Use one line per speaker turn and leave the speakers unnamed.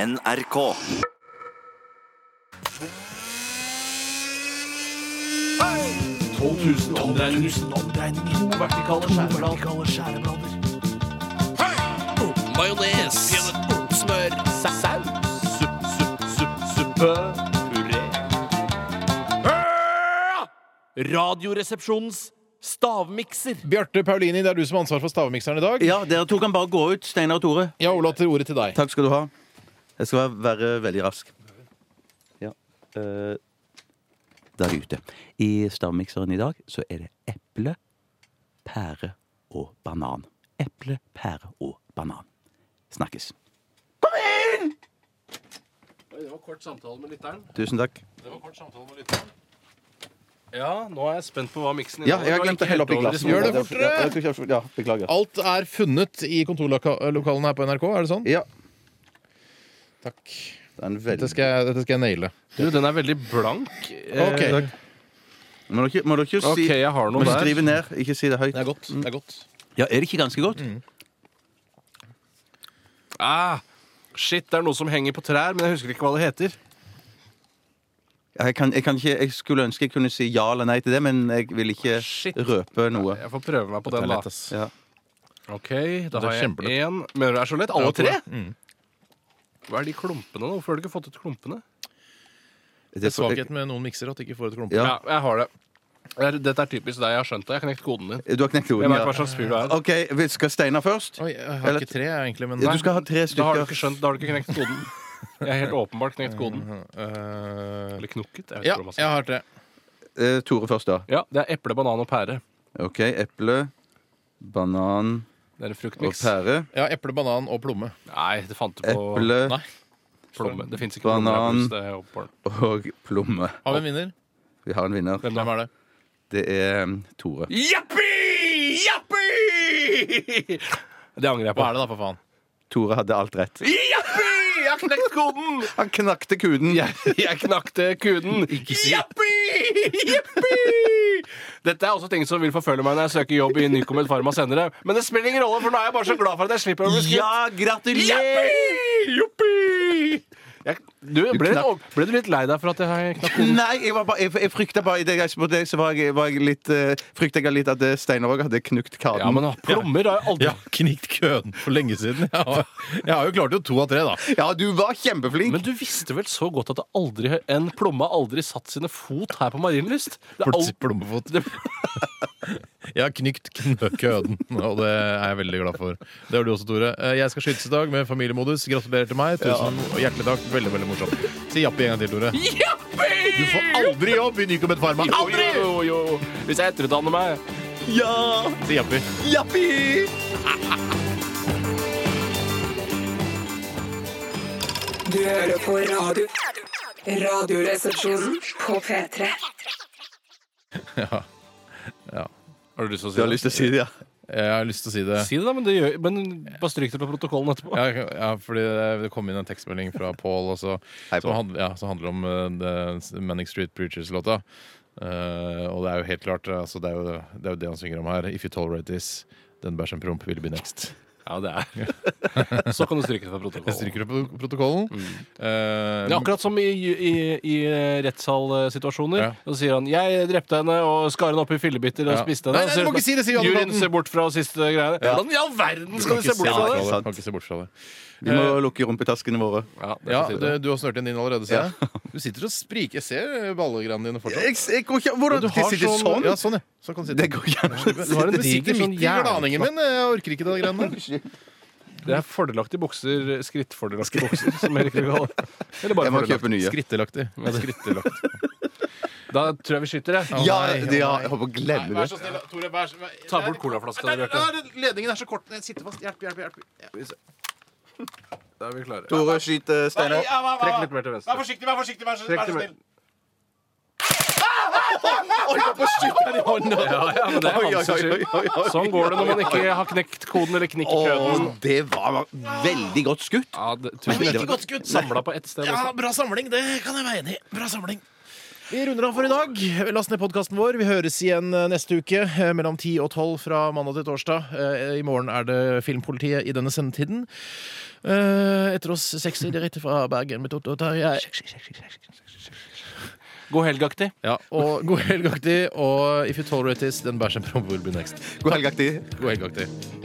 NRK.
Majones. Smør. Saus. Supp, supp, supp, suppe. Puré. Radioresepsjonens stavmikser.
Bjarte Paulini, det er du som har ansvar for stavmikseren i dag.
Ja, dere to kan bare gå ut, Steinar og Tore.
Jeg overlater ordet til deg.
Takk skal du ha. Jeg skal være veldig rask. Ja. eh, der ute. I stavmikseren i dag så er det eple, pære og banan. Eple, pære og banan. Snakkes.
Det var kort samtale med lytteren.
Tusen takk.
Det var kort samtale med lytteren. Ja, nå er jeg spent på hva miksen
Ja, jeg har glemt å helle oppi
inneholder.
glasset.
Det var
Gjør det
ikke helt over i
fortere!
Ja, jeg tror ikke jeg- Ja, beklager.
Alt er funnet i kontorlokalene her på NRK, er det sånn?
Ja,
Takk.
det er en
Dette
veldig
skal jeg, dette skal jeg naile.
smått. Du, den er veldig blank. Eh,
Ok.
Takk. Må du ikke, må du ikke si
OK, jeg har
Må
noe
du
der.
skrive ned, ikke si det Mm. høyt. Mm.
Det er godt. det er godt.
Ja, er det ikke ganske godt?
Ah, shit, det er noe som henger på trær, men jeg husker ikke hva det heter.
Jeg, kan, jeg, kan ikke, jeg skulle ønske jeg kunne si ja eller nei til det, men jeg vil ikke
Shit.
røpe noe.
Jeg får prøve meg på
Det
den,
er
da.
lett, ass.
Ja.
OK, da
Det er
har jeg
kjempelett.
én. Mener du det Mm. er så lett? Alle
Ja,
tre?
Tore. Mm.
Hva er de klumpene nå? Hvorfor har du ikke fått ut klumpene?
Det er svakheten med noen mikser at de ikke får et klumpe.
Ja.
Ja, jeg har det. Det er- Dette er typisk deg. Jeg har skjønt det. Jeg har knekt koden din.
Du har knekt
Jeg
koden,
vet hva
ja.
slags fyr du er.
OK, vi skal Steinar først?
Oi, jeg har ikke tre, jeg, egentlig, men
Du skal ha tre
Da har du ikke
stykker.
skjønt, da har du ikke knekt koden. Jeg har helt åpenbart knekt koden.
Øh,
Eller knukket. Jeg vet
Ja,
ikke hva
jeg
man sier.
har tre.
Eh, Tore først, da.
Ja, det er eple, banan og pære.
OK. Eple, banan
Det er en
og
fruktmiks.
pære.
Jeg har eple, banan og plomme.
Nei, det fant du på
Eple
Nei.
plomme. Det fins ikke
Banan.
plommer. Det er åpenbart.
og plomme.
Har vi en vinner?
Vi har en vinner.
Hvem
Hvem
da?
er det?
Det er um, Tore.
Jappi! Jappi! Det angrer
Hva
jeg på.
er det, da, for faen?
Tore hadde alt rett.
Jappi! Jeg har knekt koden!
Han knakte kuden!
Jeg knakte kuden. Jappi! Jippi! Dette er også ting som vil forfølge meg når jeg søker jobb i Nycomed Pharma senere. Men det spiller ingen rolle, for nå er jeg bare så glad for at jeg slipper å bli skutt.
Ja, gratulerer!
Jappi! Jippi! Jeg, du, ble,
knakk-
litt, over- ble du litt lei deg for at jeg knakk koden?
Nei, jeg, var bare, jeg, jeg frykta bare Idet jeg spurte deg, så var jeg, var jeg litt eh, frykta jeg litt at eh, Steinar òg hadde knukt kaden.
Ja, men Mm. plommer har jeg aldri
Ja, knikt køen for lenge siden. Jeg har, jeg har jo klart jo to av tre, da.
Ja, du var kjempeflink!
Men du visste vel så godt at det aldri, en plomme har aldri satt sine fot her på Marienlyst? Det er
Pl-
alt
Plommefot. Jeg har knykt knø- køden, og det er jeg veldig glad for. Det har du også, Tore. Eh, Jeg skal skytes i dag med familiemodus. Gratulerer til meg. Tusen og hjertelig takk. Veldig, veldig morsomt. Si jappi en gang til, Tore. Du får aldri jobb i Nycomed Pharma. Aldri!
Jo, jo, jo. Hvis jeg etterutdanner meg.
Ja!
Si jappi.
Jappi!
Du hører på radio. Radioresepsjonen på P3.
Har du lyst til å si
Du har lyst
det?
til å si det, ja?
Jeg har lyst til å si det.
Si det, da, men, det gjør, men bare stryk det på protokollen etterpå.
Ja, ja, fordi det kom inn en tekstmelding fra Paul også,
Hei,
som,
Paul.
handler, ja, som handler om eh, det- Manic Street Preachers-låta. Eh, og det er jo helt klart altså, det, er jo, det er jo det han synger om her. If you tolerate this, then bæsj en promp will be next.
Ja, det er Så kan du stryke det fra protokollen.
Jeg stryker det på protokollen. Eh,
Det er akkurat som i, i, i rettssalsituasjoner.
Ja.
Så sier han 'jeg drepte henne og skar henne opp i fillebiter og
Ja.
spiste
Nei,
henne'.
nei,
Så
du må
sier
ikke si det, sier
Juryen
advokaten.
ser bort fra siste greiene. Hvordan i all verden skal
kan
de se
ikke
bort
bort
fra det?!
fra
sant.
det. Kan ikke se bort fra det.
Vi må
Eh.
lukke rumpetaskene våre.
Ja, det
Ja,
er på tide.
det, du har snørt inn din allerede, ser jeg. Du sitter og spriker. Jeg ser ballegranene dine fortsatt.
Jeg, jeg, går ikke, hvordan
Du har
de sitter sånn?
Ja, sånn, ja. Sånn kan du sitte.
Det går ikke an.
Du har en
Det sitter
diger
sånn
midt i glaningen min. Jeg orker ikke det greiene der.
det er fordelaktige bukser. Skrittfordelaktige bukser, som Erik vil kalle det. Eller bare
Jeg må
fordelaktige.
kjøpe nye.
Skrittelaktig. Skrittelaktig.
Da tror jeg vi skyter, jeg.
Ja,
Å, nei, å,
det, ja,
nei.
jeg håper å glemme
Vær
det.
så snill, Tore. Vær så...
Ta bort colaflaska di, Bjarte.
Der, der, Ledningen er så kort. Jeg sitter fast. Hjelp, hjelp, hjelp.
Da er vi klare.
Tore skyter Steinar.
Trekk litt mer til venstre.
forsiktig, vær forsiktig. Vær så,
Trekk til mer.
Oi, jeg får skyte i hånda!
Ja, ja, men det er
Oi, oi,
hans
oi,
skyld.
oi, oi, oi.
Sånn går det når man ikke har knekt koden eller knikker
Å,
køden.
det var veldig godt skutt.
Ja, det, tror jeg
ikke
det var-
godt skutt.
Samla på ett sted. altså.
Ja, bra samling. Det kan jeg være enig i. Bra samling. Vi runder av for i dag. Last ned podkasten vår. Vi høres igjen eh, neste uke eh, mellom 10 og 12 fra mandag til torsdag. Eh, I morgen er det Filmpolitiet i denne sendetiden. Eh, Etter oss seks direkte fra Bergen med Totto og Tarjei.
God helgaktig.
Ja, og god helg, Akti. Og if you tolerate this, then bæsj and will be next.
God helg, Akti.
God helg, Akti.